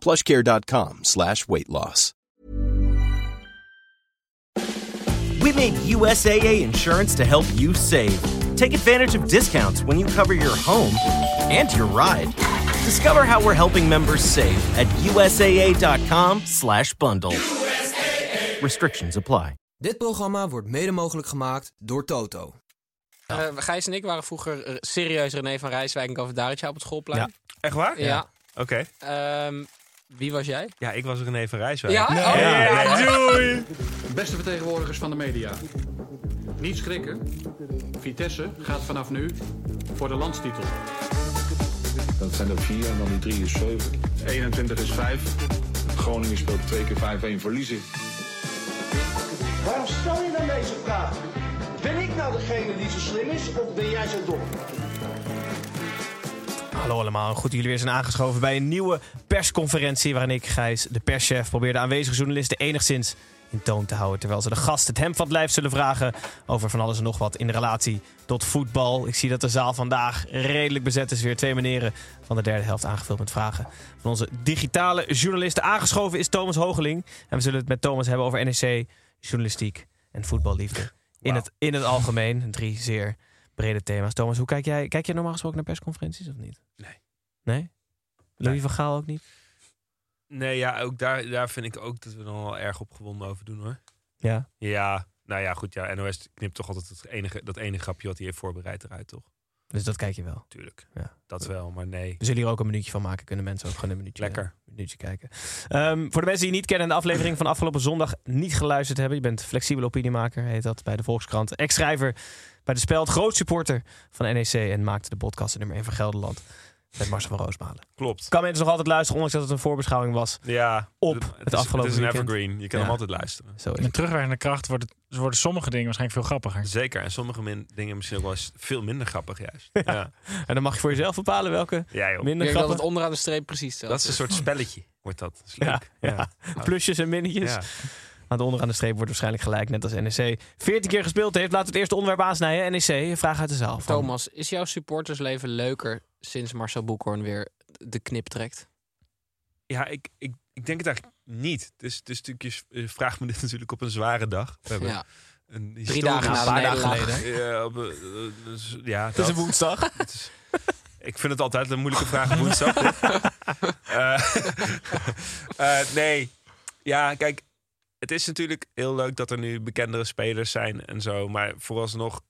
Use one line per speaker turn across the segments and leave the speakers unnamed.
Plushcare.com slash weight loss.
We made USAA insurance to help you save. Take advantage of discounts when you cover your home and your ride. Discover how we're helping members save at USAA.com slash bundle. Restrictions apply.
Dit programma wordt mede mogelijk gemaakt door Toto.
Eh, Gijs en ik waren vroeger eh, serieus René van Rijswijk en Kavadaretje op het schoolplein.
Echt waar?
Ja.
Oké.
Ehm, wie was jij?
Ja, ik was René van Rijswijk.
Ja? Nee. Oh.
Ja,
Ja.
doei!
Beste vertegenwoordigers van de media. Niet schrikken. Vitesse gaat vanaf nu voor de landstitel.
Dat zijn er vier en dan die drie is zeven. 21 is vijf. Groningen speelt twee keer 5-1 verliezen.
Waarom stel je dan deze vraag? Ben ik nou degene die zo slim is of ben jij zo dom?
Hallo allemaal, goed dat jullie weer zijn aangeschoven bij een nieuwe persconferentie. Waarin ik, Gijs, de perschef, probeer de aanwezige journalisten enigszins in toon te houden. Terwijl ze de gast het hem van het lijf zullen vragen over van alles en nog wat in relatie tot voetbal. Ik zie dat de zaal vandaag redelijk bezet is. Weer twee meneren van de derde helft aangevuld met vragen van onze digitale journalisten. Aangeschoven is Thomas Hogeling. En we zullen het met Thomas hebben over NEC, journalistiek en voetballiefde. In, het, in het algemeen, drie zeer brede thema's. Thomas, hoe kijk jij? Kijk jij normaal gesproken naar persconferenties of niet? Nee? Louis van Gaal ook niet?
Nee, ja, ook daar, daar vind ik ook dat we er nog wel erg opgewonden over doen hoor.
Ja.
Ja, nou ja, goed. Ja, NOS knipt toch altijd het enige, dat enige grapje wat hij heeft voorbereid eruit, toch?
Dus dat kijk je wel.
Tuurlijk.
Ja.
Dat wel, maar nee.
We zullen hier ook een minuutje van maken. Kunnen mensen ook gewoon een minuutje,
Lekker.
een minuutje kijken. Ehm, voor de mensen die niet kennen en de aflevering van afgelopen zondag niet geluisterd hebben. Je bent flexibel opiniemaker, heet dat, bij de Volkskrant. Ex-schrijver bij de Speld, groot supporter van NEC. En maakte de podcast de nummer 1 van Gelderland. Met Marcel van Roosmalen.
Klopt.
Kan mensen nog altijd luisteren, ondanks dat het een voorbeschouwing was.
Ja.
Op
d-
het
is-
afgelopen
Het is een
weekend.
evergreen. Je kan
Ja.
hem altijd luisteren.
Zo is
Met
het.
terugwerkende kracht worden, worden sommige dingen waarschijnlijk veel grappiger.
Zeker. En sommige min- dingen misschien ook wel eens veel minder grappig juist. Ja,
En dan mag je voor jezelf bepalen welke
ja joh.
minder
Ik denk dat het
grappen.
onderaan de streep precies hetzelfde
Dat is een soort spelletje, wordt dat. Dat is
Ja,
leuk.
ja. Plusjes en minnetjes.
Ja.
Aan de onderaan de streep wordt waarschijnlijk gelijk, net als NEC. 14 keer gespeeld heeft. Laten we het eerste onderwerp aansnijden. NEC, vraag uit de zaal. Van-
Thomas, is jouw supportersleven leuker sinds Marcel Boekhoorn weer de knip trekt?
Ja, ik, ik, ik denk het eigenlijk niet. Dus, dus natuurlijk, je s- je vraagt me dit natuurlijk op een zware dag. We hebben
Ja.
een
Drie dagen na
historisch-
de
paar dagen
nederlaag.
geleden.
Ja, op, eh, eh, dus- ja,
Het is een
dat.
woensdag.
Het is- ik vind het altijd een moeilijke vraag op woensdag. Eh, eh, nee. Ja, kijk. Het is natuurlijk heel leuk dat er nu bekendere spelers zijn en zo. Maar vooralsnog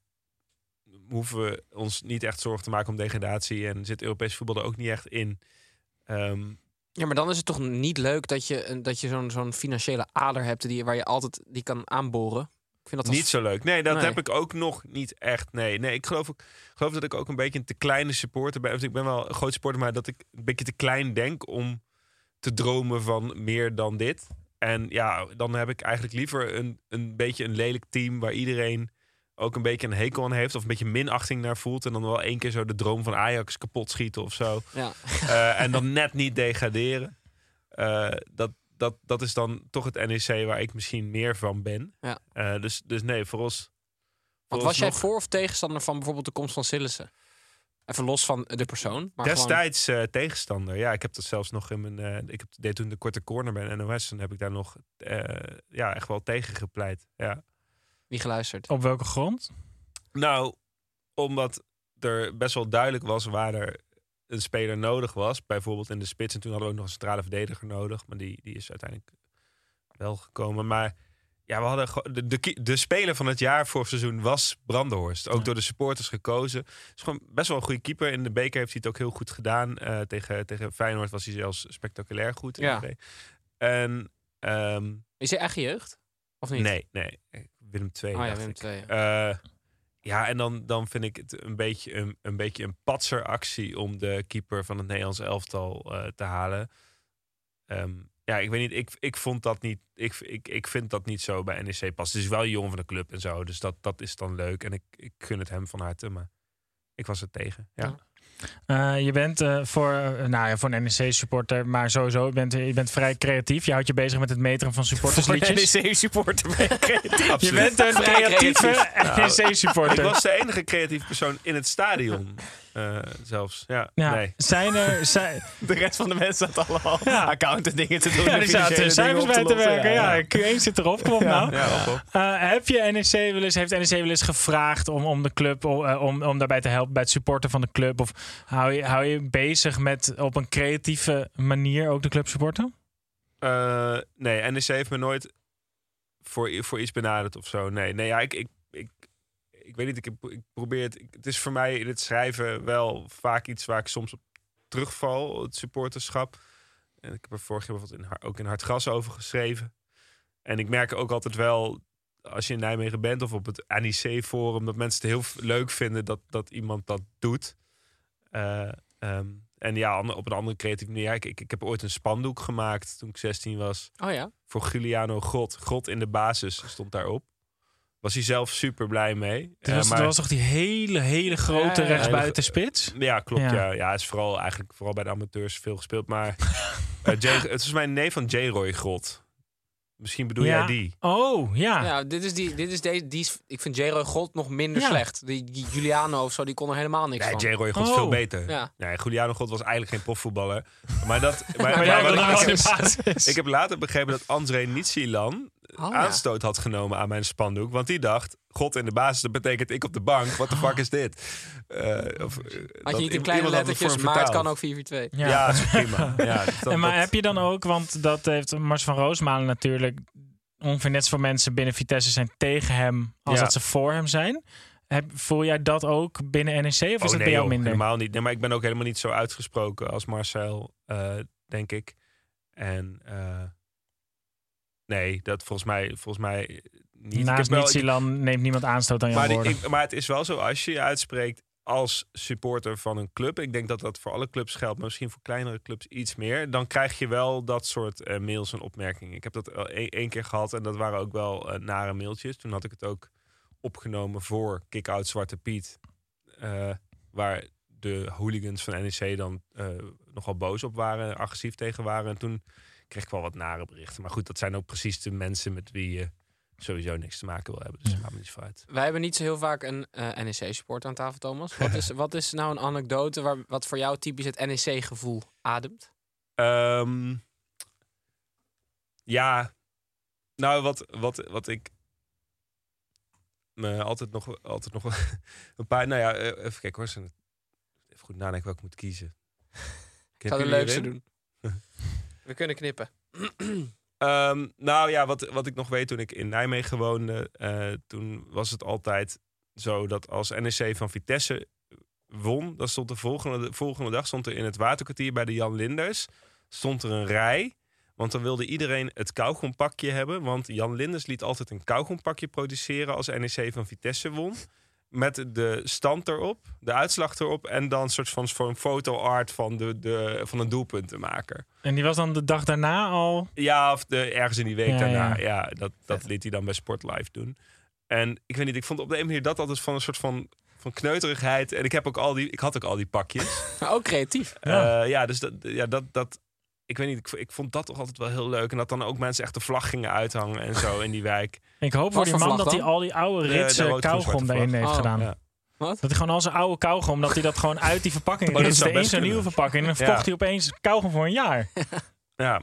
hoeven we ons niet echt zorgen te maken om degradatie. En zit Europees voetbal er ook niet echt in. Ehm,
Ja, maar dan is het toch niet leuk dat je, een- dat je zo'n zo'n financiële ader hebt die, waar je altijd die kan aanboren? Ik vind dat als-
Niet zo leuk. Nee, dat
Nee.
heb ik ook nog niet echt. Nee, nee ik geloof, ook, ik geloof dat ik ook een beetje een te kleine supporter ben. Of Ik ben wel een groot supporter, maar dat ik een beetje te klein denk om te dromen van meer dan dit. En ja, dan heb ik eigenlijk liever een, een beetje een lelijk team waar iedereen ook een beetje een hekel aan heeft. Of een beetje minachting naar voelt. En dan wel één keer zo de droom van Ajax kapot schieten of zo.
Ja.
Eh, en dan net niet degraderen. Eh, dat, dat, dat is dan toch het NEC waar ik misschien meer van ben.
Ja.
Eh, dus, dus nee, voor ons.
Want was jij
vooralsnog-
voor of tegenstander van bijvoorbeeld de komst van Sillissen? Even los van de persoon. Maar gewoon,
Destijds eh, tegenstander. Ja, ik heb dat zelfs nog in mijn. eh, ik heb, deed toen de korte corner bij NOS. En heb ik daar nog eh, ja, echt wel tegen gepleit. Ja.
niet geluisterd.
Op welke grond?
Nou, omdat er best wel duidelijk was waar er een speler nodig was. Bijvoorbeeld in de spits. En toen hadden we ook nog een centrale verdediger nodig. Maar die, die is uiteindelijk wel gekomen. Maar ja, we hadden gewoon- de, de, ki- de speler van het jaar voor seizoen was Brandenhorst. Ook door de supporters gekozen. Is gewoon best wel een goede keeper. In de beker heeft hij het ook heel goed gedaan. Eh, tegen, tegen Feyenoord was hij zelfs spectaculair goed. in
Ja.
de beker. En ehm,
Is hij eigen jeugd? Of niet?
nee, nee. Willem II.
Oh ja,
dacht
Willem
ik.
II, ja.
Eh, ja, en dan, dan vind ik het een beetje een, een beetje een patseractie om de keeper van het Nederlands elftal eh, te halen. Ehm, Ja, ik weet niet. Ik, ik vond dat niet. Ik, ik, ik vind dat niet zo bij NEC pas. Het is wel jong van de club en zo. Dus dat, dat is dan leuk. En ik, ik gun het hem van harte. Maar ik was er tegen. Ja.
Eh, je bent eh, voor, eh, nou ja, voor een NEC-supporter, maar sowieso, je bent, je bent vrij creatief. Je houdt je bezig met het meteren van supportersliedjes.
NEC-supporter ben
E Je bent een creatieve
Nou,
E
Ik
NEC-supporter.
was de enige creatieve persoon in het stadion. eh, zelfs. Ja,
Ja,
nee.
zijn er... Zijn,
De rest van de mensen zat allemaal
Ja.
account en dingen te doen.
ja,
en
er
financiële
zaten
dingen
cijfers
op te
bij te
lossen.
werken. Ja,
ja.
Q1 zit erop, kom op
Ja.
nou.
Ja, op, op.
Eh, heb je NEC wel eens, heeft NEC wel eens gevraagd om, om de club om, eh, om, om daarbij te helpen bij het supporten van de club? Of hou je, hou je bezig met op een creatieve manier ook de club supporten?
Eh, nee, NEC heeft me nooit voor, i- voor iets benaderd of zo. Nee, nee ja, ik, ik, ik, ik weet niet. Ik, heb- ik probeer het. ik- het is voor mij in het schrijven wel vaak iets waar ik soms op terugval. Het supporterschap. En ik heb er vorig jaar bijvoorbeeld in, Har- ook in Hartgras over geschreven. En ik merk ook altijd wel, als je in Nijmegen bent of op het NEC-forum, dat mensen het heel v- leuk vinden dat, dat iemand dat doet. Eh, ehm, en ja, ander- op een andere creatieve manier. Ja, Ik, ik, ik heb ooit een spandoek gemaakt toen ik 16 was
Oh ja.
voor Giuliano God. God in de basis stond daarop. Was hij zelf super blij mee.
Er
Eh,
was, er was toch die hele, hele grote
Ja, ja, ja.
rechtsbuitenspits?
Ja, klopt.
Ja.
Ja. Ja. hij is vooral eigenlijk vooral bij de amateurs veel gespeeld. Maar eh, J- het is mijn neef van J-Roy God. Misschien bedoel
Ja.
jij die.
Oh,
Ah.
ja.
Ja, dit is die, dit is deze, die is, ik vind J-Roy God nog minder
Ja.
slecht. Die, die Giuliano of zo, die kon er helemaal niks
Nee,
van.
J-Roy God
Oh.
is veel beter.
Ja.
Nee, Giuliano God was eigenlijk geen profvoetballer. Maar dat... Maar,
Maar
maar
jij
wat
wil
ik-
nou
ik,
in de
heb-
basis.
ik heb later begrepen dat André Nitsilan
Oh, ja.
aanstoot had genomen aan mijn spandoek. Want die dacht, God in de basis, dat betekent ik op de bank. Wat de fuck is dit? Eh, of, eh,
Oh. Had
dat
je niet in kleine
iemand had het voor
lettertjes,
hem
maar het
vertaald.
kan ook 4-4-2.
Ja, dat is prima. Ja, dus dat-
en maar
dat-
heb je dan ook, want dat heeft Mars van Roosmalen natuurlijk ongeveer net zoveel mensen binnen Vitesse zijn tegen hem als
Ja.
dat ze voor hem zijn. Heb, voel jij dat ook binnen NEC of is dat
Oh,
bij
nee,
jou
joh,
minder?
helemaal niet. Nee, maar ik ben ook helemaal niet zo uitgesproken als Marcel, eh, denk ik. En eh, nee, dat volgens mij, volgens mij niet. Ik heb
Naast
wel- ik-
Nitsilan neemt niemand aanstoot aan jouw
maar, die-
woorden.
ik- maar het is wel zo, als je je uitspreekt als supporter van een club, ik denk dat dat voor alle clubs geldt, maar misschien voor kleinere clubs iets meer, dan krijg je wel dat soort eh, mails en opmerkingen. Ik heb dat al één één keer gehad en dat waren ook wel eh, nare mailtjes. Toen had ik het ook opgenomen voor Kick-Out Zwarte Piet, eh, waar de hooligans van NEC dan eh, nogal boos op waren, agressief tegen waren. En toen kreeg ik wel wat nare berichten. Maar goed, dat zijn ook precies de mensen met wie je sowieso niks te maken wil hebben. Dus
Ja.
laat me niet zo uit.
Wij hebben niet zo heel vaak een eh, NEC-supporter aan tafel, Thomas. Wat is, wat is nou een anekdote waar, wat voor jou typisch het NEC-gevoel ademt?
Ehm, ja, nou wat, wat, wat ik me altijd nog, altijd nog een paar, nou ja, eh, even kijken hoor. zijn het- Even goed nadenken welke ik moet kiezen.
Ik zou de leukste doen. We kunnen knippen.
Ehm, nou ja, wat, wat ik nog weet toen ik in Nijmegen woonde, eh, toen was het altijd zo dat als NEC van Vitesse won, dan stond de volgende, de volgende dag stond er in het waterkwartier bij de Jan Linders stond er een rij. Want dan wilde iedereen het kauwgompakje hebben. Want Jan Linders liet altijd een kauwgompakje produceren als NEC van Vitesse won. Met de stand erop, de uitslag erop. En dan een soort van voor een foto-art van, de, de, van een doelpuntenmaker.
En die was dan de dag daarna al.
Ja, of de, ergens in die week
Ja,
daarna.
ja.
Ja, dat, dat liet hij dan bij Sportlife doen. En ik weet niet, ik vond op de een manier dat altijd van een soort van, van kneuterigheid. En ik, heb ook al die, ik had ook al die pakjes.
Maar ook creatief.
ja. ja, dus dat, ja, dat, dat, ik weet niet, ik, v- ik vond dat toch altijd wel heel leuk. En dat dan ook mensen echt de vlag gingen uithangen en zo in die wijk.
Ik hoop voor die
voor
man
vlag
dat
dan?
hij al die oude
De- de
ritsen
rood-groen-zwarte
kauwgom
vlag.
daarin heeft
Oh.
gedaan.
Ja.
Wat?
Dat hij gewoon al zijn oude kauwgom, dat hij dat gewoon uit die verpakking
Oh, dat
ritste
zou
in
best
zo'n nieuwe
kunnen.
verpakking. En dan
Ja.
verkocht hij opeens kauwgom voor een jaar.
Ja,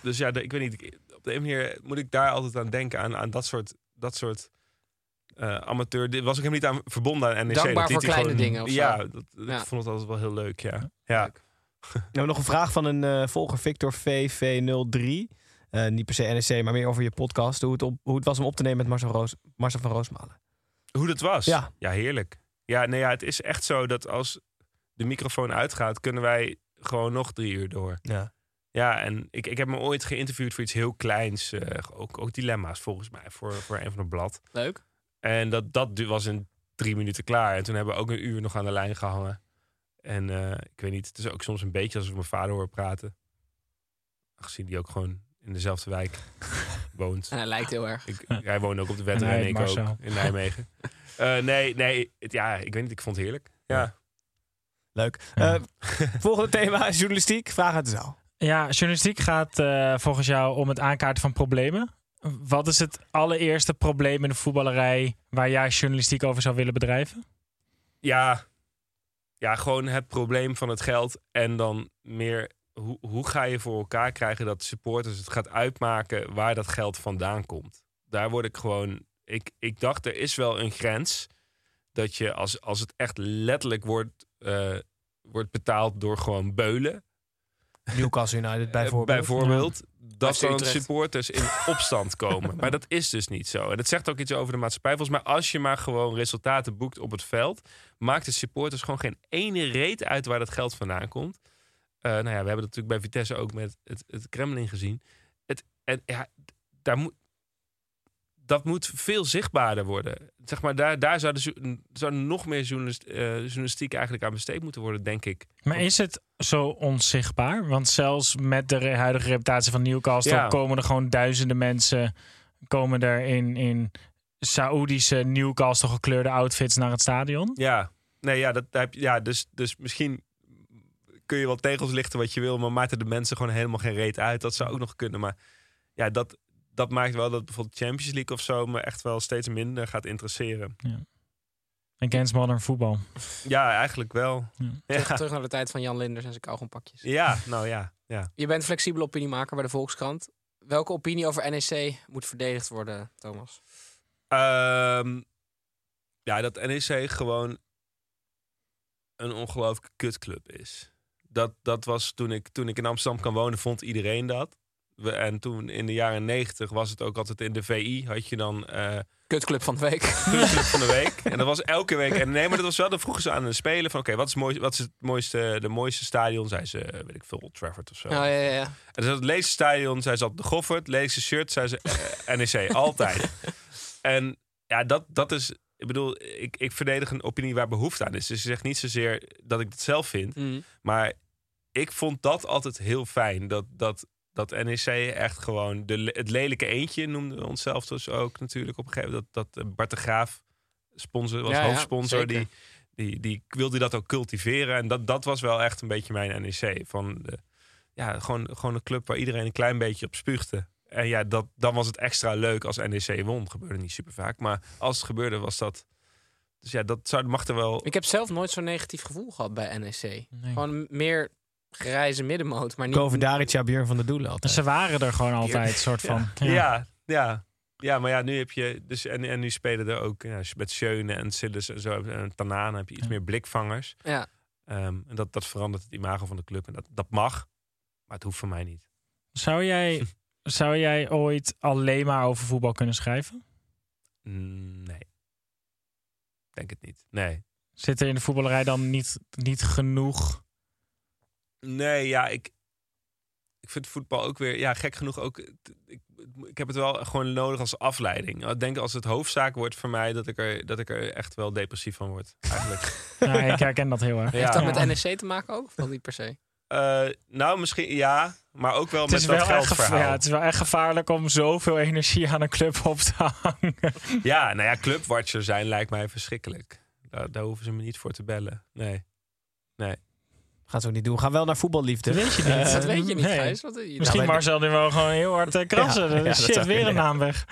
dus ja, de- ik weet niet. ik- Op de een manier moet ik daar altijd aan denken. Aan, aan dat soort, dat soort eh, amateur. Dit was ik hem niet aan verbonden aan NEC.
Dankbaar
dat liet
voor
hij
kleine
gewoon-
dingen of zo.
Ja, dat,
Ja.
ik vond het altijd wel heel leuk. Ja, ja.
We hebben Nou, nog een vraag van een eh, volger, Victor VV03. Eh, niet per se NEC, maar meer over je podcast. Hoe het, op, hoe het was om op te nemen met Marcel, Roos, Marcel van Roosmalen.
hoe dat was.
Ja.
heerlijk. Ja, nee, ja, het is echt zo dat als de microfoon uitgaat, kunnen wij gewoon nog drie uur door.
Ja.
Ja, en ik, ik heb me ooit geïnterviewd voor iets heel kleins. eh, ook, ook dilemma's volgens mij voor, voor een van de blad.
Leuk.
En dat, dat du- was in drie minuten klaar. En toen hebben we ook een uur nog aan de lijn gehangen. En eh, ik weet niet, het is ook soms een beetje alsof ik mijn vader hoor praten. Aangezien die ook gewoon in dezelfde wijk woont.
En hij lijkt heel erg.
Ik, hij woonde ook op de Wetter
En hij
en ik
heet Marcel.
ook in Nijmegen. Eh, nee, nee. het- ja, ik weet niet. Ik vond het heerlijk. Ja.
Leuk. Eh, volgende thema is journalistiek. Vraag uit de zaal.
Ja, journalistiek gaat eh, volgens jou om het aankaarten van problemen. Wat is het allereerste probleem in de voetballerij waar jij journalistiek over zou willen bedrijven?
Ja, ja, gewoon het probleem van het geld. En dan meer, hoe, hoe ga je voor elkaar krijgen dat supporters het gaat uitmaken waar dat geld vandaan komt? Daar word ik gewoon. Ik, ik dacht, er is wel een grens. Dat je als, als het echt letterlijk wordt, eh, wordt betaald door gewoon beulen.
Newcastle United
eh,
bijvoorbeeld.
bijvoorbeeld dat
FC
dan
Utrecht.
supporters in opstand komen. maar dat is dus niet zo. En dat zegt ook iets over de maatschappij. Volgens mij, als je maar gewoon resultaten boekt op het veld, maakt de supporters gewoon geen ene reet uit waar dat geld vandaan komt. Eh, nou ja, we hebben dat natuurlijk bij Vitesse ook met het, het Kremlin gezien. Het, en ja, daar moet. Dat moet veel zichtbaarder worden. Zeg maar, daar, daar zou, de, zo- zou nog meer journalist, eh, journalistiek eigenlijk aan besteed moeten worden, denk ik.
Maar is het zo onzichtbaar? Want zelfs met de re- huidige reputatie van Newcastle
Ja.
komen er gewoon duizenden mensen komen er in, in Saoedische Newcastle gekleurde outfits naar het stadion.
Ja, nee, ja, dat, daar heb, je- ja dus, dus misschien kun je wel tegels lichten wat je wil, maar maakt er de mensen gewoon helemaal geen reet uit. Dat zou ook nog kunnen, maar ja, dat, dat maakt wel dat bijvoorbeeld Champions League of zo me echt wel steeds minder gaat interesseren.
Against modern voetbal.
Ja, eigenlijk wel.
Ja.
Ja,
Terug naar de tijd van Jan Linders en zijn kauwgompakjes.
ja nou ja. ja.
Je bent flexibele opiniemaker bij de Volkskrant. Welke opinie over NEC moet verdedigd worden, Thomas?
Ehm, ja, dat NEC gewoon een ongelooflijke kutclub is. Dat, dat was toen ik, toen ik in Amsterdam kan wonen, vond iedereen dat. We, en toen in de jaren negentig was het ook altijd in de VI. Had je dan eh
Kutclub van de week.
Kutclub van de week. En dat was elke week. En nee, maar dat was wel. Dan vroegen ze aan de speler van oké, wat is mooi, wat is het mooiste, de mooiste stadion? Zei ze, eh, weet ik veel, Old Trafford of zo.
Oh, ja, ja, ja.
En dus het leegste stadion, zei ze altijd de Goffert. Leegste shirt, zei ze eh, NEC. Altijd. En ja, dat, dat is... Ik bedoel, ik, ik verdedig een opinie waar behoefte aan is. Dus ik zeg niet zozeer dat ik dat zelf vind.
Mm.
Maar ik vond dat altijd heel fijn. Dat, dat, dat NEC echt gewoon... De, le- het lelijke eentje noemden we onszelf dus ook natuurlijk op een gegeven moment. Dat, dat eh, Bart de Graaf sponsor, was
Ja, ja,
hoofdsponsor.
zeker.
die, die, die wilde dat ook cultiveren. En dat, dat was wel echt een beetje mijn NEC. Van de, ja, gewoon, gewoon een club waar iedereen een klein beetje op spuugde. En ja, dat, dan was het extra leuk als NEC won. Gebeurde niet super vaak. Maar als het gebeurde, was dat. Dus ja, dat zou, mag er wel.
Ik heb zelf nooit zo'n negatief gevoel gehad bij NEC.
Nee.
Gewoon meer grijze middenmoot, maar niet...
Kovedaric, Jabir van der Doelen altijd.
Ze waren er gewoon altijd, soort van.
Ja, ja. ja. Ja, maar ja, nu heb je. Dus, en, en nu spelen er ook. Ja, als je met Schöne en Sillis en zo. En Tanana heb je iets meer blikvangers.
Ja.
Ehm, en dat, dat verandert het imago van de club. En dat, dat mag. Maar het hoeft voor mij niet.
Zou jij, zou jij ooit alleen maar over voetbal kunnen schrijven?
Mm, Nee. Denk het niet. Nee.
Zit er in de voetballerij dan niet, niet genoeg?
Nee, ja, ik, ik vind voetbal ook weer, ja, gek genoeg ook. het- Ik, ik heb het wel gewoon nodig als afleiding. Ik denk als het hoofdzaak wordt voor mij, dat ik er, dat ik er echt wel depressief van word. Eigenlijk.
Ja, ik herken dat heel erg.
Ja.
Heeft dat met NEC te maken ook? Of dat niet per se?
Eh, nou, misschien ja, maar ook wel
Het is,
met
wel
dat
echt geva-
geldverhaal.
ja, het is wel echt gevaarlijk om zoveel energie aan een club op te hangen.
Ja, nou ja, clubwatcher zijn lijkt mij verschrikkelijk. Daar, daar hoeven ze me niet voor te bellen. Nee.
Gaat ze ook niet doen. We gaan wel naar voetballiefde. Eh, nou,
Dat weet je niet.
dat weet je niet,
nee.
Gijs. Wat, je-
Misschien
wij-
Marcel nu wel gewoon heel hard eh, kratsen.
Ja, ja, dat
Shit,
zou
weer een
kunnen, ja.
naam weg.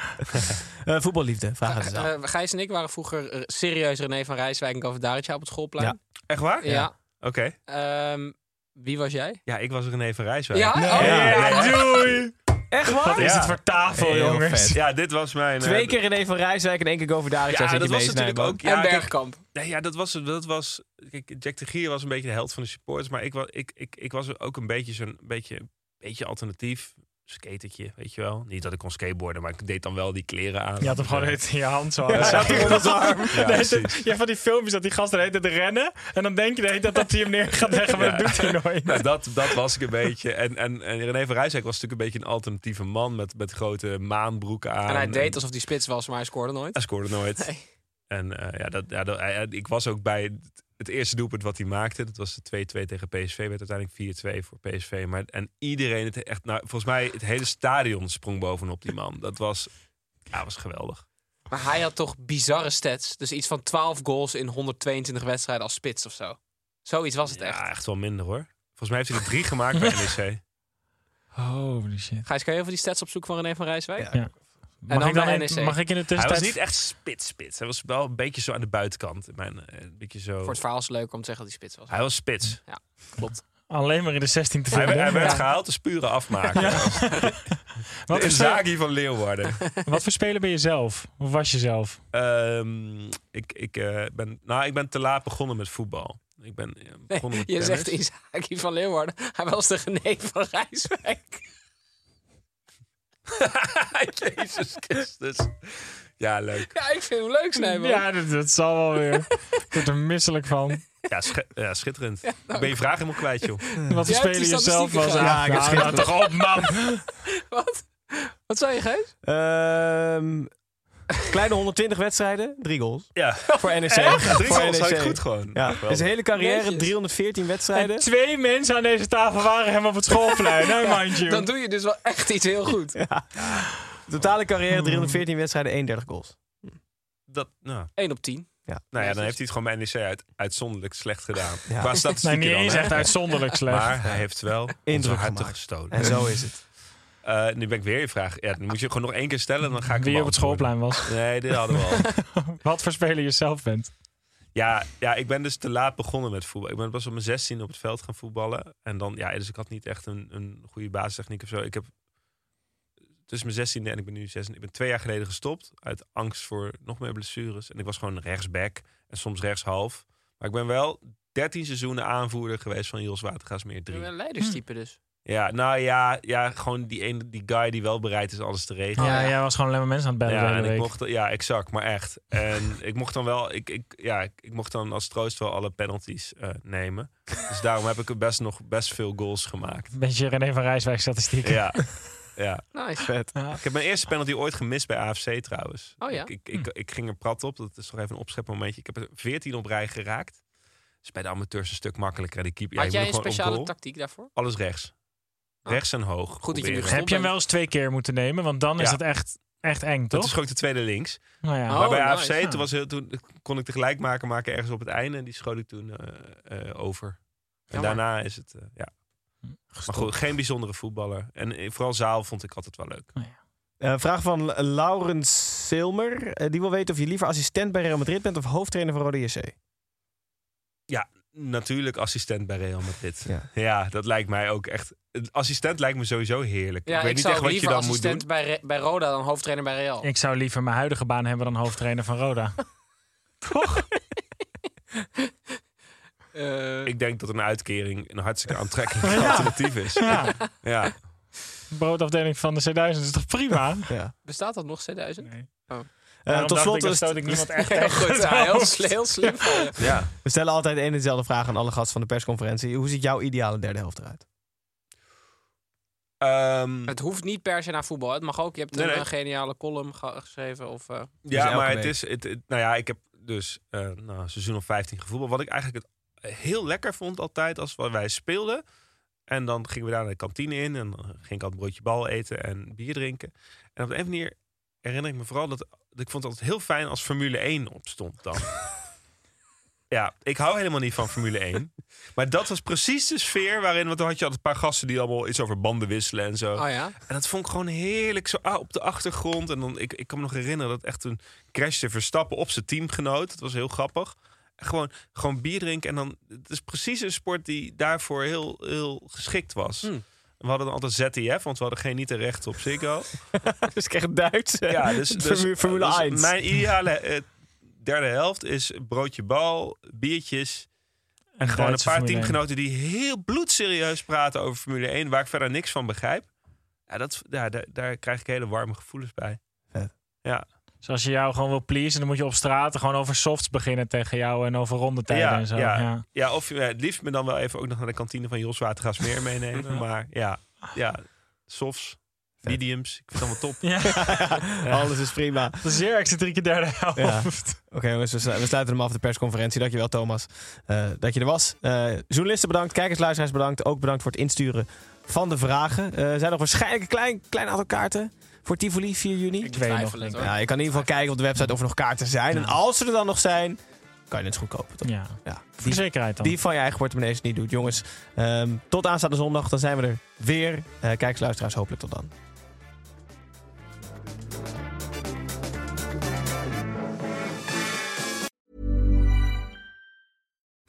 Eh, voetballiefde. Vraag uit de zaal.
Eh, eh, Gijs en ik waren vroeger eh, serieus René van Rijswijk en Kovadaricja op het schoolplein.
Echt waar?
Ja.
Oké.
Ehm, wie was jij?
Ja, ik was René van Rijswijk.
Ja? Oh,
Ja,
Ja,
nee.
doei!
Echt waar?
eh, Wat is
Ja.
het voor tafel,
Heel
jongens?
vet.
Ja, dit was mijn... eh,
Twee keer René van Rijswijk en één keer Goverdaric.
Ja, dat was natuurlijk ook... Ja,
en
kijk,
Bergkamp.
Nee, ja, dat was, dat was. Kijk, Jack de Gier was een beetje de held van de supporters. Maar ik, wa- ik, ik, ik was ook een beetje zo'n beetje, beetje alternatief. Skatertje, weet je wel. Niet dat ik kon skateboarden, maar ik deed dan wel die kleren aan.
Je had hem gewoon
Ja.
de hele tijd in je hand zo.
Ja,
Zat hij onder zijn arm.
Ja,
Nee,
precies.
dat- je hebt van die filmpjes dat die gast de hele tijd rennen. En dan denk je de hele tijd dat hij hem neer gaat leggen, maar
Ja.
dat doet hij nooit.
Nou, dat, dat was ik een beetje. En, en, en René van Rijswijk was natuurlijk een beetje een alternatieve man met, met grote maanbroeken aan.
En hij deed alsof
Ah.
hij spits was, maar hij scoorde nooit.
Hij scoorde nooit.
Nee.
En eh, ja, dat, ja, dat, hij- hij- ik eh, was ook bij het het eerste doelpunt wat hij maakte, dat was de 2-2 tegen PSV, werd uiteindelijk 4-2 voor PSV. Maar, en iedereen, het echt, nou, volgens mij het hele stadion sprong bovenop die man. Dat was, ja, was geweldig.
Maar hij had toch bizarre stats. Dus iets van 12 goals in 122 wedstrijden als spits of zo. Zoiets was het echt.
Ja, echt wel minder hoor. Volgens mij heeft hij er drie gemaakt bij NEC.
Holy shit.
Gijs, kan je even die stats opzoeken van René van Rijswijk?
Ja. Mag,
dan E
ik dan
bij
in-
NEC.
mag ik in de
Hij was
tussentijd...
niet echt spits-spits. Hij was wel een beetje zo aan de buitenkant. In Mijn, eh, een beetje zo...
Voor het verhaal is het leuk om te zeggen dat hij spits was.
Hij was spits.
Klopt.
Alleen maar in de 16 te
Hij,
vinden.
werd- hij werd
Ja.
gehaald als pure afmaker.
Wat
Wat
voor,
een
spe-
Zagi van Leeuwarden.
wat voor speler ben je zelf? Of was je zelf?
Ehm, ik, ik, eh, ben, nou, ik ben te laat begonnen met voetbal. Ik ben eh, begonnen met
Je
tennis.
zegt Isaki van Leeuwarden. Hij was de René van Rijswijk.
Jezus Christus. Ja, leuk.
Ja, ik vind hem leuk, Snijboom.
Ja, dat, dat zal wel weer. Ik word er misselijk van.
Ja, schi- ja, schitterend.
nou,
Ik ben je vraag helemaal kwijt, joh.
Wat
Ah,
voor
Jij hebt
speler
die
je zelf
statistieken
was.
gedaan.
Ah,
Ja, ik heb
nou, nou,
schitterend.
Oh,
toch op, man.
Wat? Wat zei je, Gijs?
Ehm, kleine 120 wedstrijden, drie goals.
Ja,
Voor NEC.
ja E drie
Voor
goals
NEC.
zou ik goed gewoon.
Ja,
Geweldig.
zijn hele carrière,
Netjes.
314 wedstrijden.
En twee mensen aan deze tafel waren hem op het schoolplein, hè, mind you.
Dan doe je dus wel echt iets heel goed.
Totale
Hmm.
carrière, 314 wedstrijden, 31 goals.
Dat, nou,
1 op 10.
nou ja, dan heeft hij het gewoon bij NEC uit, uitzonderlijk slecht gedaan.
Ja.
Qua
Nee,
statistieken
niet
dan,
eens
hè.
echt uitzonderlijk slecht.
Maar hij heeft wel onze
Indruk
harten
gemaakt.
gestolen.
En zo is het.
Eh, nu ben ik weer je vraag. Ja, dan moet je gewoon nog één keer stellen en dan ga ik
Wie
hem
op het
beantwoorden.
schoolplein was.
Nee, dit hadden we al.
Wat voor speler je zelf bent.
Ja, ja, ik ben dus te laat begonnen met voetbal. Ik ben pas op mijn 16 op het veld gaan voetballen. En dan, ja, dus ik had niet echt een, een goede basistechniek of zo. Ik heb tussen mijn 16e en ik ben nu 16. Ik ben twee jaar geleden gestopt uit angst voor nog meer blessures. En ik was gewoon rechtsback en soms rechtshalf. Maar ik ben wel 13 seizoenen aanvoerder geweest van Jos Watergaasmeer
Je
3.
bent een leiderstype dus.
Ja, nou ja, ja gewoon die, ene, die guy die wel bereid is alles te regelen.
Oh,
ja, jij was gewoon alleen maar mensen aan het bellen de
Ja,
hele
en ik
week.
mocht, ja, exact, maar echt. En ik mocht dan wel, ik, ik, ja, ik, ik mocht dan als troost wel alle penalties eh, nemen. Dus daarom heb ik best nog best veel goals gemaakt.
Een beetje René van Rijswijk statistieken.
Ja, ja.
Nice.
Vet.
Ik heb mijn eerste penalty ooit gemist bij AFC trouwens.
Oh ja?
Ik, ik, ik, ik ging er prat op, dat is toch even een opschepmomentje. Ik heb er 14 op rij geraakt. Dus bij de amateurs een stuk makkelijker. En die keeper, ja,
Had
je
jij
moet
een
nog gewoon op
speciale
goal.
tactiek daarvoor?
Alles rechts.
Ah.
Rechts en hoog.
Goed dat je nu
proberen.
gestopt
Heb je hem wel eens twee keer moeten nemen, want dan is
Ja.
dat echt, echt eng,
Dat
toch?
is gewoon de tweede links.
Nou ja.
Oh.
maar bij AFC,
nice.
Ja.
toen, was heel, toen kon ik tegelijk maken, maken ergens op het einde. En die schoot ik toen eh, eh, over. En
Jammer.
daarna is het, eh, ja. Maar goed, geen bijzondere voetballer. En eh, vooral zaal vond ik altijd wel leuk.
Eh, vraag van L- Laurens Silmer. Eh, die wil weten of je liever assistent bij Real Madrid bent of hoofdtrainer van Rode JC.
Natuurlijk assistent bij Real Madrid.
Ja.
Ja, dat lijkt mij ook echt... een Assistent lijkt me sowieso heerlijk.
Ja,
ik
ik,
weet niet
zou
echt wat je
liever
dan moet doen.
assistent bij, Re- bij Roda dan hoofdtrainer bij Real.
Ik zou liever mijn huidige baan hebben dan hoofdtrainer van Roda. toch?
Eh,
Ik denk dat een uitkering een hartstikke aantrekkelijk alternatief is. Ja.
Ja, broodafdeling van de C1000 is toch prima? Oh.
Ja.
Bestaat dat nog, C1000?
Eh,
Daarom
tot
dacht
slot,
ik, dan
is-
stoot ik niemand echt
Heel
tegen
goed,
het
ja, heel,
hoofd.
sl- heel slim. van je.
ja.
we stellen altijd één en dezelfde vraag aan alle gasten van de persconferentie. Hoe ziet jouw ideale derde helft eruit?
Ehm,
Het hoeft niet per se naar voetbal. Het mag ook. Je hebt
Nee,
een
nee.
eh, geniale column ge- geschreven. Of, eh,
Ja,
Dus elke
maar het
week.
is. Het, het- nou ja, ik heb dus eh, nou, een seizoen of 15 gevoetbald. Wat ik eigenlijk het heel lekker vond altijd als wij speelden. En dan gingen we daar naar de kantine in. En dan ging ik altijd broodje bal eten en bier drinken. En op de een of andere manier herinner ik me vooral dat, dat ik vond het altijd heel fijn als Formule 1 opstond dan. ja, ik hou helemaal niet van Formule 1. maar dat was precies de sfeer waarin... Want dan had je altijd een paar gasten die allemaal iets over banden wisselen en
Ah,
zo.
oh ja.
En dat vond ik gewoon heerlijk zo ah, op de achtergrond. En dan, ik, ik kan me nog herinneren dat echt toen crashte Verstappen op zijn teamgenoot. Dat was heel grappig. En Gewoon, gewoon bier drinken en dan... Het is precies een sport die daarvoor heel, heel geschikt was.
Hmm.
We hadden dan altijd ZTF, want we hadden geen niet recht op Ziggo.
dus ik krijg Duits.
Ja, dus, dus-
Formule, Formule
dus
1.
Mijn ideale eh, derde helft is broodje bal, biertjes... En gewoon een
Duitse
paar
Formule één.
teamgenoten die heel bloedserieus praten over Formule 1, waar ik verder niks van begrijp. Ja, dat, ja, daar, daar krijg ik hele warme gevoelens bij.
Dus als je jou gewoon wil pleasen, dan moet je op straat gewoon over softs beginnen tegen jou en over rondetijden
Ja,
en zo.
ja.
ja.
Ja, of ja, het liefst me dan wel even ook nog naar de kantine van Jos Watergaas meer meenemen. Maar ja, ja, softs.
mediums. Ik vind het allemaal top.
Ja.
Alles is prima.
Zeer excentrieke derde
Ja.
helft.
Oké jongens, we, slu- we sluiten hem af de persconferentie. Dankjewel Thomas eh, dat je er was. Eh, journalisten bedankt, kijkers, luisteraars bedankt. Ook bedankt voor het insturen van de vragen. Eh, er zijn nog waarschijnlijk een klein, klein aantal kaarten voor Tivoli 4 juni.
Ik weet nog.
het,
niet.
hoor.
Ja, je kan in ieder geval kijken op de website of er nog kaarten zijn. En als ze er dan nog zijn, kan je het goed kopen. Toch?
Ja,
Ja.
voor zekerheid dan.
Die van je eigen portemonnee als je het niet doet. Jongens, ehm, tot aanstaande zondag. Dan zijn we er weer. Eh kijkers, luisteraars, hopelijk tot dan.